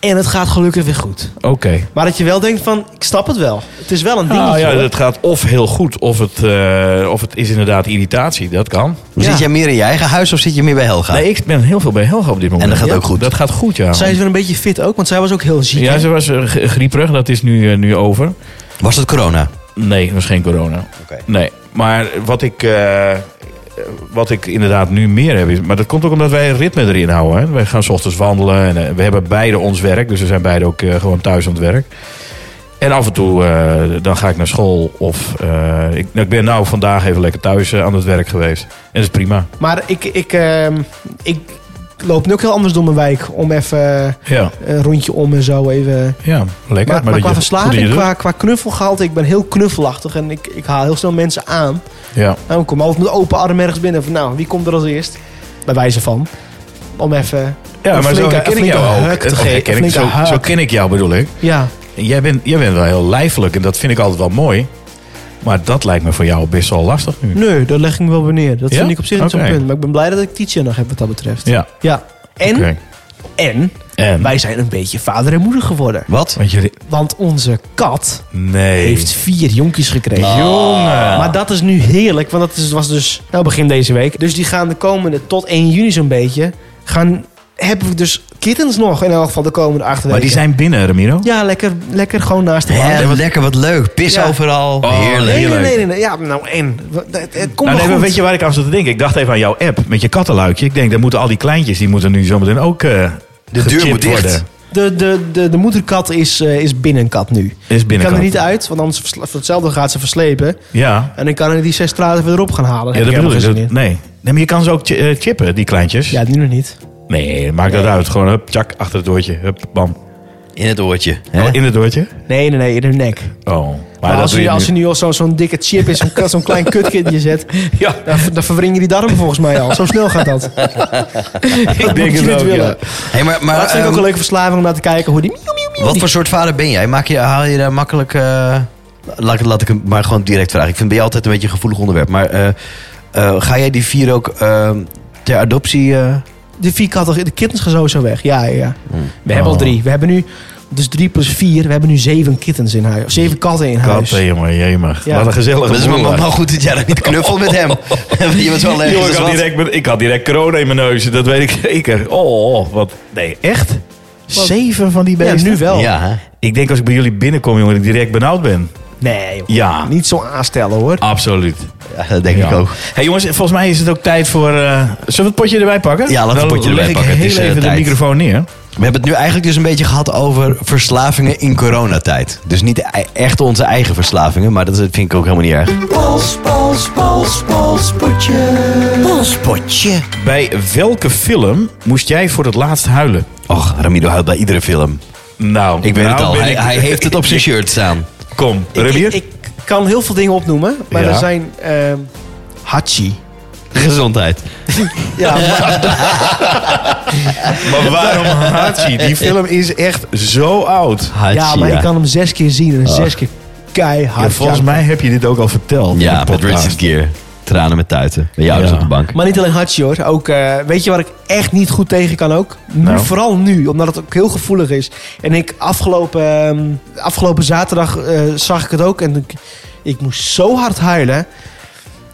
En het gaat gelukkig weer goed.
oké.
Maar dat je wel denkt van, ik snap het wel. Het is wel een dingetje.
Ah, ja,
hoor.
het gaat of heel goed, of het, eh, of het is inderdaad irritatie. Dat kan.
Ja.
Zit jij meer in je eigen huis of zit je meer bij Helga?
Nee, ik ben heel veel bij Helga op dit
Ah.
moment.
En dat gaat
Ja.
ook goed.
Dat gaat goed, ja.
Zij is weer een beetje fit ook, want zij was ook heel ziek.
Ja,
hè?
ze was eh, g- grieperig. Dat is nu, eh, nu over.
Was dat corona?
Nee, dat was geen corona.
Oké.
Nee, maar wat ik, eh, eh, wat ik inderdaad nu meer heb... Is, maar dat komt ook omdat wij een ritme erin houden. Hè? Wij gaan 's ochtends wandelen en eh, we hebben beide ons werk. Dus we zijn beide ook eh, gewoon thuis aan het werk. En af en toe eh, dan ga ik naar school of... eh, ik, nou, ik ben nou vandaag even lekker thuis eh, aan het werk geweest. En dat is prima.
Maar ik, ik, ehm, ik loop nu ook heel anders door mijn wijk. Om even eh,
Ja,
een rondje om en zo even...
ja lekker.
Maar,
dat
maar, qua
je- goed
verslaving,
dat je
qua, qua knuffelgehalte, ik ben heel knuffelachtig. En ik, ik haal heel snel mensen aan.
doet. Ja.
Nou, ik kom altijd met open arm ergens binnen. Van nou, wie komt er als eerst? Bij wijze van. Om even...
ja,
een
maar zo
flinke-
herken
een
ik jou
flinke
ook.
huk te
Zo
geven,
herken ik-
een
Zo
flinke
zo
huk.
ken ik jou bedoel ik.
Ja,
Jij bent, jij bent wel heel lijfelijk en dat vind ik altijd wel mooi. Maar dat lijkt me voor jou best wel lastig nu.
nee, dat leg ik me wel weer neer. Dat
Ja?
vind ik op zich niet
Oké.
zo'n punt. Maar ik ben blij dat ik Tietje nog heb wat dat betreft.
Ja.
Ja. En,
oké.
en
En?
wij zijn een beetje vader en moeder geworden.
Wat?
Want jullie...
Want onze kat
Nee.
heeft vier jonkies gekregen.
Ah. Jongen.
Maar dat is nu heerlijk, want dat is, was dus nou, begin deze week. Dus die gaan de komende tot 1 juni zo'n beetje. Gaan, hebben we dus kittens nog in elk geval de komende acht weken.
Maar die zijn binnen, Ramiro.
Ja, lekker, lekker gewoon naast de
Hè,
hand.
wat lekker, wat leuk. Pis
Ja.
overal.
Oh,
Heerlijk.
Nee, nee,
leuk.
nee, nee, nee. Ja, nou en. Het, het komt
Nou,
wel
nee, maar
goed.
weet je waar ik aan zat te denken? Ik dacht even aan jouw app met je kattenluikje. Ik denk, dan moeten al die kleintjes, die moeten nu zometeen ook eh
De deur
gechipt
moet dicht.
worden.
De, de, de, de moederkat is, eh, is binnenkat nu.
Is
Ik kan
binnenkant.
er niet uit, want anders versla- voor hetzelfde gaat ze verslepen.
Ja.
En dan kan ik die zes straten weer erop gaan halen.
Ja,
Heb
dat
ik
bedoel ik.
helemaal
Dat,
geen
nee.
zin
nee, maar je kan ze ook chi- eh, chippen, die kleintjes.
in. Ja, nu nog niet.
Nee, maakt dat uit. Gewoon hup, tjak, achter het doortje. Hup, bam. Oh,
In het oortje.
Oh,
hè?
In het doortje.
Nee, nee, nee, in hun nek.
Oh. Maar,
Maar
dat
als,
doe
je,
je
als
nu.
je nu al zo- zo'n dikke chip in zo'n zo'n klein kutkindje zet,
Ja.
dan, ver- dan verwring je die darmen volgens mij al. Zo snel gaat dat.
Ik
moet
denk
je
het
niet
ook,
willen.
ja.
Hey, maar,
Maar
maar,
dat vind ik ook
ehm,
een leuke verslaving om naar te kijken hoe die... miauw, miauw, miauw,
Wat
die-
voor soort vader ben jij? Maak je, haal je daar makkelijk... eh, laat, ik- laat ik hem maar gewoon direct vragen. Ik vind bij je altijd een beetje een gevoelig onderwerp. Maar eh, eh, ga jij die vier ook eh, ter adoptie... eh,
De vierkattige, de kittens gaan sowieso weg. Ja, ja, ja. We hebben al
Oh.
drie. We hebben nu, dus drie plus vier, we hebben nu zeven kittens in huis. Of Zeven katten in huis.
Katten, jongen, jemig.
Ja.
Wat een gezellige
Dat is maar,
boel,
maar
hè.
maar goed dat jij dat niet knuffelt met hem. je bent wel allergisch,
Jongen,
dat
ik,
is
had
wat.
direct, met- ik had direct corona in mijn neus, dat weet ik zeker. Oh, oh, wat. Nee, echt? Zeven van die
Ja,
beesten?
nu wel.
Ja, hè?
Ik denk als ik bij jullie binnenkom, jongen, dat ik direct benauwd ben.
Nee, joh.
Ja.
Niet zo aanstellen, hoor.
Absoluut.
Ja, dat denk ik
Ja.
ook.
Hey jongens, volgens mij is het ook tijd voor. eh, zullen we het potje erbij pakken?
Ja, laten we het
Dan
potje erbij
leg ik
pakken. Het
Heel
is, eh,
even de
tijd.
microfoon neer.
We hebben het nu eigenlijk dus een beetje gehad over verslavingen in coronatijd. Dus niet e- echt onze eigen verslavingen, maar dat vind ik ook helemaal niet erg.
Bij welke film moest jij voor het laatst huilen?
Och, Ramido houdt bij iedere film.
Nou,
Ik weet
nou
het al,
ben
hij,
ik-
hij heeft het op zijn shirt staan.
Kom,
Ik-
Renier.
Ik, ik kan heel veel dingen opnoemen, maar
Ja.
er zijn... ehm, Hachi.
Gezondheid.
Ja, maar-
Maar waarom Hachi? Die film is echt zo oud.
Hachi,
ja, maar ik kan hem zes keer zien en zes keer keihard.
Ah. Ja, volgens
janken.
mij heb je dit ook al verteld.
Ja,
in de
met
podcast.
Richard Gere. Tranen met tuiten. Bij jou is
Ja.
op de bank.
Maar niet alleen Hachi hoor. Ook, eh, weet je waar ik echt niet goed tegen kan ook? Nu,
Nou.
Vooral nu, omdat het ook heel gevoelig is. En ik afgelopen, ehm, afgelopen zaterdag eh, zag ik het ook. En ik, ik moest zo hard huilen.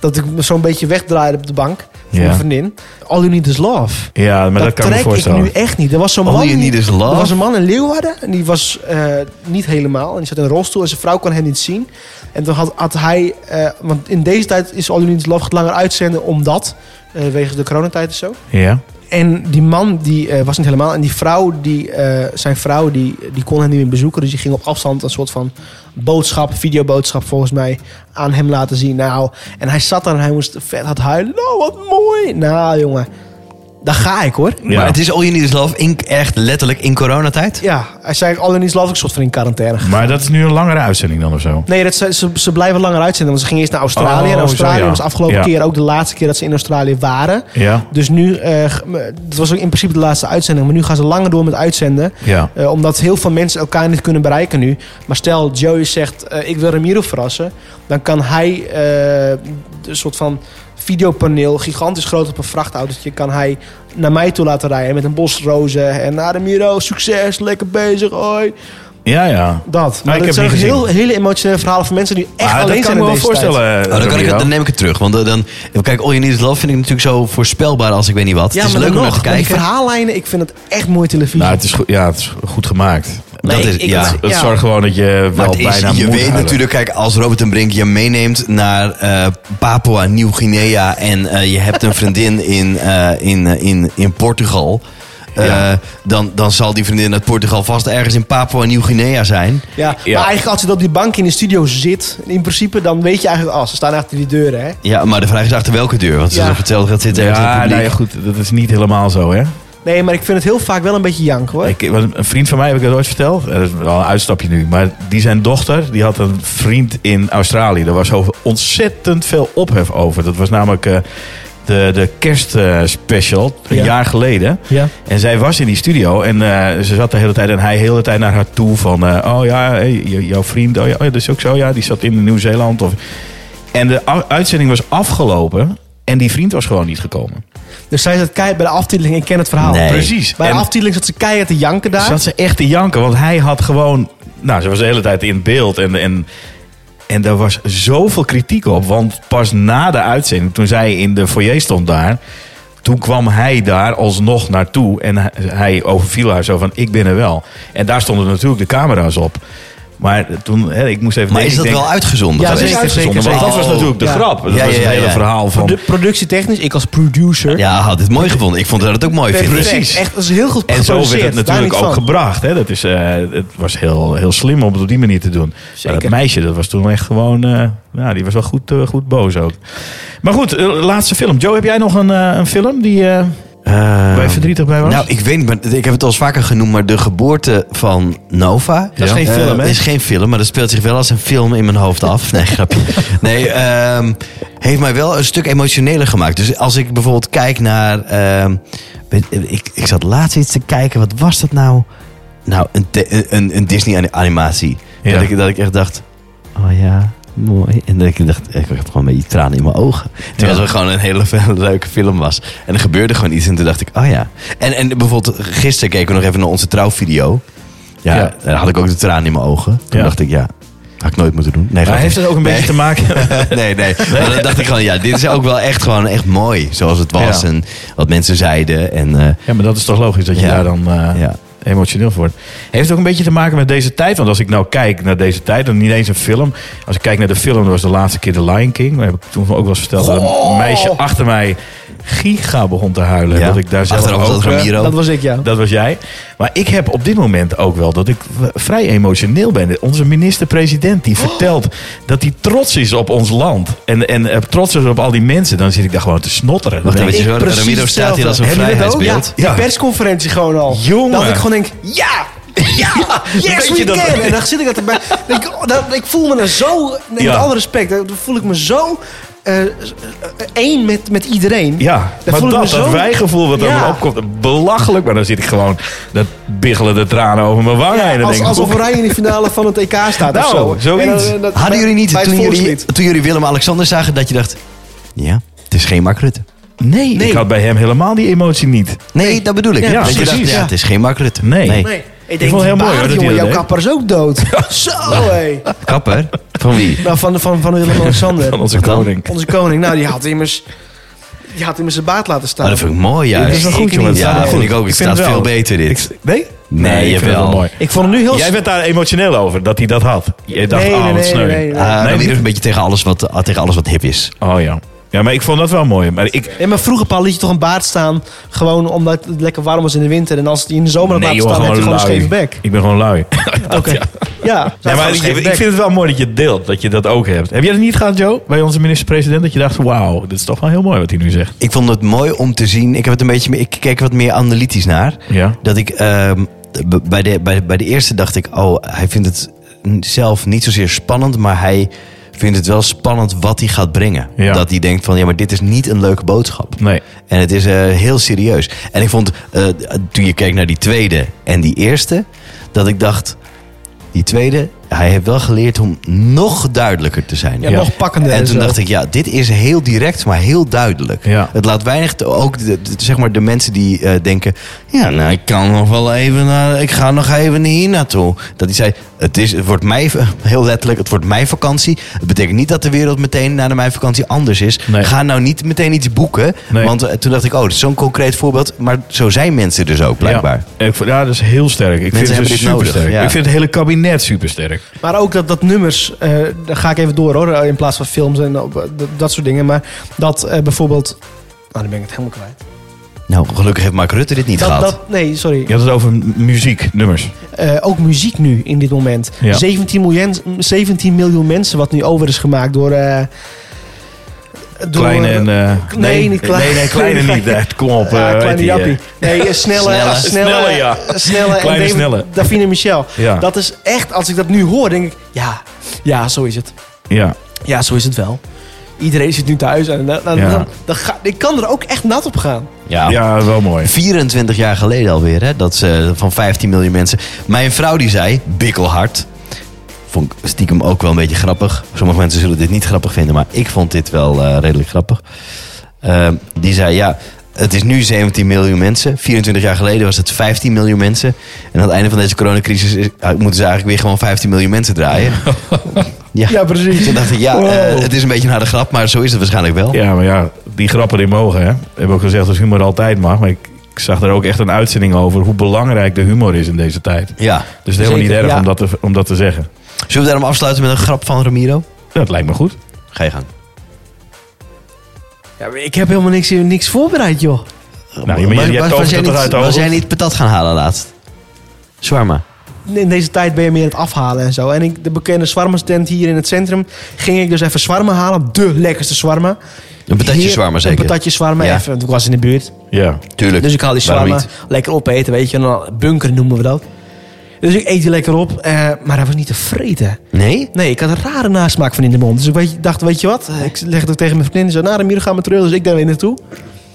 Dat ik me zo'n beetje wegdraaide op de bank. Van
Ja.
mijn vriendin. All you need is love.
Ja, maar dat, kan ik me
trek ik
voorstellen.
nu echt niet. Er was zo'n
All
man,
You
die-
Need Is Love?
Er was een man in Leeuwarden en die was eh, niet helemaal. En die zat in een rolstoel en zijn vrouw kon hem niet zien. En toen had, had hij, eh, want in deze tijd is All You Need Is Love langer uitzenden omdat, eh, wegens de coronatijd en zo.
Ja.
En die man die eh, was niet helemaal en die vrouw, die, eh, zijn vrouw, die, die kon hem niet meer bezoeken. Dus die ging op afstand een soort van boodschap, videoboodschap volgens mij, aan hem laten zien. Nou, en hij zat daar en hij moest vet hard huilen. Nou, wat mooi. Nou, jongen. Daar ga ik hoor.
Ja.
Maar het is All You Need Is Love in, echt letterlijk in coronatijd?
Ja, hij zei alleen iets laf ik soort van in quarantaine.
Maar dat is nu een langere uitzending dan of zo.
Nee, dat ze, ze, ze blijven langer uitzenden. Want ze gingen eerst naar Australië.
Oh,
en Australië
zo, ja.
was afgelopen
Ja.
keer ook de laatste keer dat ze in Australië waren.
Ja.
Dus nu, eh, g- m- het was ook in principe de laatste uitzending. Maar nu gaan ze langer door met uitzenden.
Ja.
Eh, omdat heel veel mensen elkaar niet kunnen bereiken nu. Maar stel, Joey zegt, eh, ik wil Ramiro verrassen. Dan kan hij eh, een soort van videopaneel, gigantisch groot op een vrachtautootje... kan hij naar mij toe laten rijden met een bos rozen. En naar Ramiro, succes, lekker bezig, hoi.
Ja, ja.
Dat. Maar
Nou, ik
dat
heb
zijn
het niet
heel, hele emotionele verhalen van mensen die echt
Maar
alleen
dat kan
zijn
ik me
in
wel
deze tijd.
voorstellen.
Oh, dan, kan ik,
Gabriel.
het- dan neem ik het terug. Want eh, dan, dan, kijk, All You Need Is Love vind ik natuurlijk zo voorspelbaar als ik weet niet wat.
Ja,
het is
maar
leuk om
dan
naar
nog,
te
want die
kijken.
verhaallijnen, ik vind het echt mooi televisie.
Nou, het is, goed, ja, het is goed gemaakt.
dat
Nee,
is,
ik-
ja.
ik-
Het
Ja.
zorgt gewoon dat je
Maar
wel
het is,
bijna
je
moet
weet
huilen.
natuurlijk, kijk, als Robert en Brink je meeneemt naar eh, Papua, Nieuw-Guinea en eh, je hebt een vriendin in, eh, in, eh, in, in Portugal, eh,
Ja.
dan, dan zal die vriendin uit Portugal vast ergens in Papua, Nieuw-Guinea zijn.
ja,
ja.
Maar eigenlijk als je op die bank in de studio zit, in principe, dan weet je eigenlijk, als ze staan achter die deuren, hè.
Ja, maar de vraag is achter welke deur? Want ze
Ja.
is op hetzelfde gaat zitten ergens in het
Ja,
publiek.
nou ja, goed, dat is niet helemaal zo, hè?
Nee, maar ik vind het heel vaak wel een beetje jank, hoor.
Ik, want een vriend van mij heb ik dat ooit verteld. Eh, Dat is wel een uitstapje nu. Maar die zijn dochter, die had een vriend in Australië. Daar was over ontzettend veel ophef over. Dat was namelijk eh, de, de kerstspecial, een
Ja.
jaar geleden.
ja.
En zij was in die studio en eh, ze zat de hele tijd en hij de hele tijd naar haar toe van... eh, oh ja, hey, j- jouw vriend, oh ja, oh ja, dat is ook zo, ja, die zat in Nieuw-Zeeland. Of... En de a- uitzending was afgelopen en die vriend was gewoon niet gekomen.
Dus zij zat keihard bij de aftiteling, ik ken het verhaal.
Nee.
Precies.
Bij de
En-
aftiteling zat ze keihard te janken daar.
Zat ze echt te janken, want hij had gewoon... Nou, ze was de hele tijd in beeld en... en en daar was zoveel kritiek op, want pas na de uitzending, toen zij in de foyer stond daar, toen kwam hij daar alsnog naartoe en hij- hij overviel haar zo van, ik ben er wel. En daar stonden natuurlijk de camera's op. Maar toen, hè, ik moest even
Maar is
denken,
dat
ik denk,
wel uitgezonden?
Ja,
geweest?
zeker,
dat is uitgezonden,
zeker,
want
zeker.
dat was natuurlijk de
Ja.
grap. Dat
Ja,
was
ja,
het
ja,
hele
ja.
verhaal van...
Produ- productietechnisch, ik als producer.
Ja, had dit mooi gevonden. Ik vond dat het ook mooi
Perfect.
vinden.
precies.
Echt, dat is heel goed
En zo werd
geproduceerd,
het
daar
natuurlijk
niet
ook
van.
gebracht. Hè? Dat is, eh, het was heel, heel slim om het op die manier te doen. Maar dat
Zeker.
meisje, dat was toen echt gewoon... eh, nou, die was wel goed, eh, goed boos ook. Maar goed, eh, laatste film. Joe, heb jij nog een, eh, een film die eh,
Eh,
waar je verdrietig bij was?
Nou, ik weet niet, maar ik heb het al eens vaker genoemd, maar de geboorte van Nova.
Dat is geen
eh,
film, hè?
is geen film, maar dat speelt zich wel als een film in mijn hoofd af. Nee, grapje. Nee, ehm, heeft mij wel een stuk emotioneler gemaakt. Dus als ik bijvoorbeeld kijk naar... ehm, weet- ik, ik zat laatst iets te kijken, wat was dat nou? Nou, een, te- een, een Disney-animatie.
Ja.
Dat, ik, dat ik echt dacht, oh ja... Mooi. En dat ik dacht, ik had gewoon een beetje tranen in mijn ogen. Terwijl
Ja.
het gewoon een hele leuke film was. En er gebeurde gewoon iets en toen dacht ik, oh ja. En, en bijvoorbeeld gisteren keken we nog even naar onze trouwvideo. Ja,
Ja.
daar had ik ook de tranen in mijn ogen. Toen
Ja.
dacht ik, ja, had ik nooit moeten doen. Nee,
maar
grapje.
heeft dat ook een beetje te maken...
Nee, nee. Maar dan dacht ik gewoon, ja, dit is ook wel echt gewoon echt mooi. Zoals het was
Ja.
en wat mensen zeiden. En eh,
ja, maar dat is toch logisch dat je
Ja.
daar dan... eh,
ja.
emotioneel voor wordt. Heeft het ook een beetje te maken met deze tijd? Want als ik nou kijk naar deze tijd, dan niet eens een film. Als ik kijk naar de film, dat was de laatste keer The Lion King. Daar heb ik toen ook wel eens verteld. Dat een meisje achter mij giga begon te huilen.
Ja.
Dat ik daar zelf
Achteraf was
ook,
dat
eh,
Ramiro.
Dat was ik, ja.
dat was jij. Maar ik heb op dit moment ook wel dat ik w- vrij emotioneel ben. Onze minister-president
Oh!
die vertelt dat hij trots is op ons land. En, en eh, trots is op al die mensen. Dan zit ik daar gewoon te snotteren. Dan
Wacht
denk
even,
ik,
zo,
precies
Ramiro staat hier als een
hetzelfde. Heb je dat ook?
vrijheidsbeeld.
Ja,
Ja.
Die persconferentie gewoon al.
Jongen.
Dat ik gewoon denk, ja! Ja! Yes,
weet
we
je dat?
can! En dan zit ik dat erbij. ik, oh, dat- ik voel me dan zo... Met
Ja.
alle respect, dan voel ik me zo... eh, eh, één met, met iedereen.
ja,
Dan
maar
voel
dat,
ik me
dat
zo-
wijgevoel wat er
Ja.
opkomt, belachelijk. Maar dan zit ik gewoon, dat biggelen de tranen over mijn wangen. heen.
Ja,
en dan
als,
denk ik,
alsof
hoe-
Oranje in de finale van het EK staat of
Nou,
zo.
zoiets.
En dan- dat-
Hadden jullie niet,
bij het
toen jullie,
volkslied.
toen jullie Willem-Alexander zagen, dat je dacht... Ja, het is geen Mark Rutte.
nee,
Nee.
ik had bij hem helemaal die emotie niet.
Nee, dat bedoel ik.
Ja,
dat je dacht,
precies,
ja,
ja.
het is geen Mark Rutte.
Nee.
Nee, ik denk,
vond het heel mooi, hoor,
baard,
dat hij dat
jongen, jouw
deed.
kapper is ook dood. Zo, hé.
Kapper? Van wie?
Nou, van, van, van Willem-Alexander.
Van onze
Wat dan?
koning.
Onze koning, nou, die had immers, die had immers zijn baard laten staan.
Oh, dat vind ik mooi
Ja,
juist.
dat is wel goed, jongen. Het
Ja,
staat wel
vind
goed.
ik ook. Het
Ik vind
staat
het wel.
veel beter dit.
Ik- nee?
Nee,
ik vind het
jawel.
wel mooi.
Ik vond hem nu heel...
Jij bent daar emotioneel over, dat hij dat had. Je dacht,
nee,
oh,
nee,
wat
nee,
sneu.
nee, nee, nee.
Ah,
Nee,
Ramiro is
niet.
een beetje tegen alles, wat, ah, tegen alles wat hip is.
Oh ja. Ja, maar ik vond dat wel mooi. Maar ik,
Nee, maar vroeger, Paul, liet je toch een baard staan... gewoon omdat het lekker warm was in de winter. En als het in de zomer had
nee,
laten
joh,
staan, heb
gewoon
je gewoon een
lui.
scheve bek.
Ik ben gewoon lui.
Oké. Ja,
Ja, maar ik, ik vind het wel mooi dat je het deelt, dat je dat ook hebt. Heb jij dat niet gehad, Joe? Bij onze minister-president, dat je dacht, wauw, dit is toch wel heel mooi wat hij nu zegt.
Ik vond het mooi om te zien. Ik, heb het een beetje, meer- ik kijk er wat meer analytisch naar.
Ja.
Dat ik ehm, b- bij, de, bij, bij de eerste dacht ik, oh, hij vindt het zelf niet zozeer spannend, maar hij vindt het wel spannend wat hij gaat brengen.
Ja.
Dat hij denkt van, ja, maar dit is niet een leuke boodschap.
Nee.
En het is eh, heel serieus. En ik vond, eh, toen je kijkt naar die tweede en die eerste, dat ik dacht, die tweede, hij heeft wel geleerd om nog duidelijker te zijn.
Ja,
Ja.
nog pakkender.
En toen dacht ik, ja, dit is heel direct, maar heel duidelijk.
Ja.
Het laat weinig, te- ook de, de- zeg maar de mensen die eh, denken... ja, nou, ik kan nog wel even naar, ik ga nog even hier naartoe. Dat hij zei, het, is, het wordt mij, heel letterlijk, het wordt mijn vakantie. Het betekent niet dat de wereld meteen na de mijn vakantie anders is.
Nee.
Ga nou niet meteen iets boeken.
Nee.
Want eh, toen dacht ik, oh, dat is zo'n concreet voorbeeld. Maar zo zijn mensen dus ook, blijkbaar.
Ja, ik vond- ja, dat is heel sterk. Ik
Mensen
vind
hebben
het dus
dit nodig,
supersterk.
ja.
Ik vind het hele kabinet supersterk.
Maar ook dat, dat nummers, eh, daar ga ik even door hoor, in plaats van films en op, eh, dat- dat soort dingen. Maar dat eh, bijvoorbeeld... Nou, dan ben ik het helemaal kwijt.
Nou, gelukkig heeft Mark Rutte dit niet
Dat,
gehad.
dat, nee, sorry.
Je had het over m- muziek, nummers.
Eh, ook muziek nu in dit moment.
Ja.
17, miljoen, 17 miljoen mensen wat nu over is gemaakt door... eh, door
Kleine en... eh,
nee, niet klein.
Nee, nee, kleine niet. eh, Kom op.
Ja,
eh, weet
kleine
die, eh,
Jappie. Nee, eh, snelle,
Snelle.
snelle, snelle,
Snelle, ja.
eh, snelle
Kleine
en
snelle.
Davine Michel.
Ja.
Dat is echt, als ik dat nu hoor, denk ik, ja, ja, zo is het.
Ja,
Ja, zo is het wel. Iedereen zit nu thuis en dan, dan,
Ja.
dan- dan ga- ik kan er ook echt nat op gaan.
Ja.
ja, wel mooi.
24 jaar geleden alweer, hè? Dat ze eh, van 15 miljoen mensen. Mijn vrouw die zei, bikkelhard. Vond ik stiekem ook wel een beetje grappig. Sommige mensen zullen dit niet grappig vinden, maar ik vond dit wel eh, redelijk grappig. Ehm, die zei, ja, het is nu 17 miljoen mensen. 24 jaar geleden was het 15 miljoen mensen. En aan het einde van deze coronacrisis is- eh, moeten ze eigenlijk weer gewoon 15 miljoen mensen draaien. ja.
precies.
Toen dacht ik, ja,
Wow.
eh, het is een beetje een harde grap, maar zo is het waarschijnlijk wel.
Ja, maar ja, die grappen die mogen, hè. We hebben ook gezegd dat humor altijd mag. Maar ik, ik zag er ook echt een uitzending over hoe belangrijk de humor is in deze tijd.
ja.
Dus het is helemaal
Zeker,
niet erg
ja.
om, dat te, om dat te zeggen.
Zullen we daarom afsluiten met een grap van Ramiro?
Dat lijkt me goed. Nou,
Ga je gang.
Ja, maar ik heb helemaal niks, niks voorbereid, joh.
Nou, je, je,
was,
je
was-
hebt
was
over
jij
tot
niet,
eruit
was
over.
jij niet patat gaan halen laatst? Zwarma.
In deze tijd ben je meer aan het afhalen en zo. En ik, de bekende zwarma tent hier in het centrum... ging ik dus even zwarma halen. De lekkerste zwarma.
Een patatje
Heer-
zwarma zeker?
Een patatje zwarma.
Ja.
Even, want ik was in de buurt.
Ja.
Tuurlijk.
Dus ik haal die
Waarom
shawarma lekker opeten, weet je. En dan bunker noemen we dat. Dus ik eet die lekker op, eh, maar hij was niet tevreden.
niet? Nee?
Nee, ik had een rare nasmaak van in de mond. Dus ik weet- dacht, weet je wat? Eh, Ik legde ook tegen mijn vriendin. Ze zei, nou, Ramiro, gaan we terug. Dus ik daar weer naartoe. Ik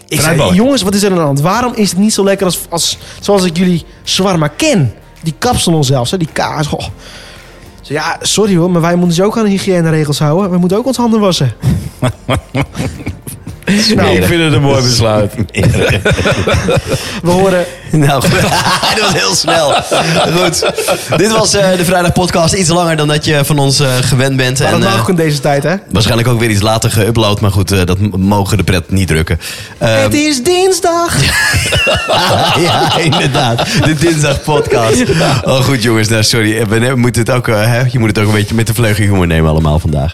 zei,
Fruitballen.
jongens, wat is er aan de hand? Waarom is het niet zo lekker als, als, zoals ik jullie shawarma ken? Die kapsalon zelfs, hè? die kaas. goh. Ik zei, ja, sorry hoor, maar wij moeten ze ook aan de hygiëneregels houden. We moeten ook ons handen wassen.
ik
Smerig.
Nou,
vind het een mooi besluit.
We horen
Nou, goed. dat was heel snel. Goed. Dit was eh, de Vrijdag Podcast. Iets langer dan dat je van ons eh, gewend bent.
Maar
en,
dat mag
eh,
ook in deze tijd, hè?
waarschijnlijk ook weer iets later geüpload. Maar goed, eh, dat m- mogen de pret niet drukken. Eh,
Het is dinsdag.
ja, inderdaad. De Dinsdag Podcast. Oh, goed jongens. Nou, sorry. We ne- moeten het ook, eh, hè, je moet het ook een beetje met de vleugel humor nemen allemaal vandaag.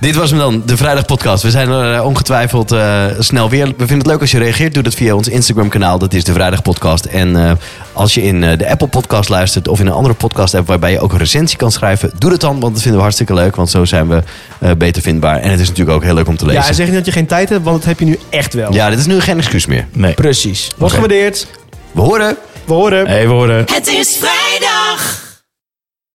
Dit was hem dan, de Vrijdag Podcast. We zijn er eh, ongetwijfeld eh, snel weer. We vinden het leuk als je reageert. Doe dat via ons Instagram kanaal. Dat is de Vrijdag Podcast. En eh, als je in eh, de Apple Podcast luistert of in een andere podcast app waarbij je ook een recensie kan schrijven. Doe dat dan, want dat vinden we hartstikke leuk. Want zo zijn we eh, beter vindbaar. En het is natuurlijk ook heel leuk om te lezen.
Ja, en zeg niet dat je geen tijd hebt, want dat heb je nu echt wel.
Ja, dit is nu geen excuus meer.
Nee.
Precies. Wordt gewaardeerd.
We horen...
We horen.
Even horen.
Het is vrijdag.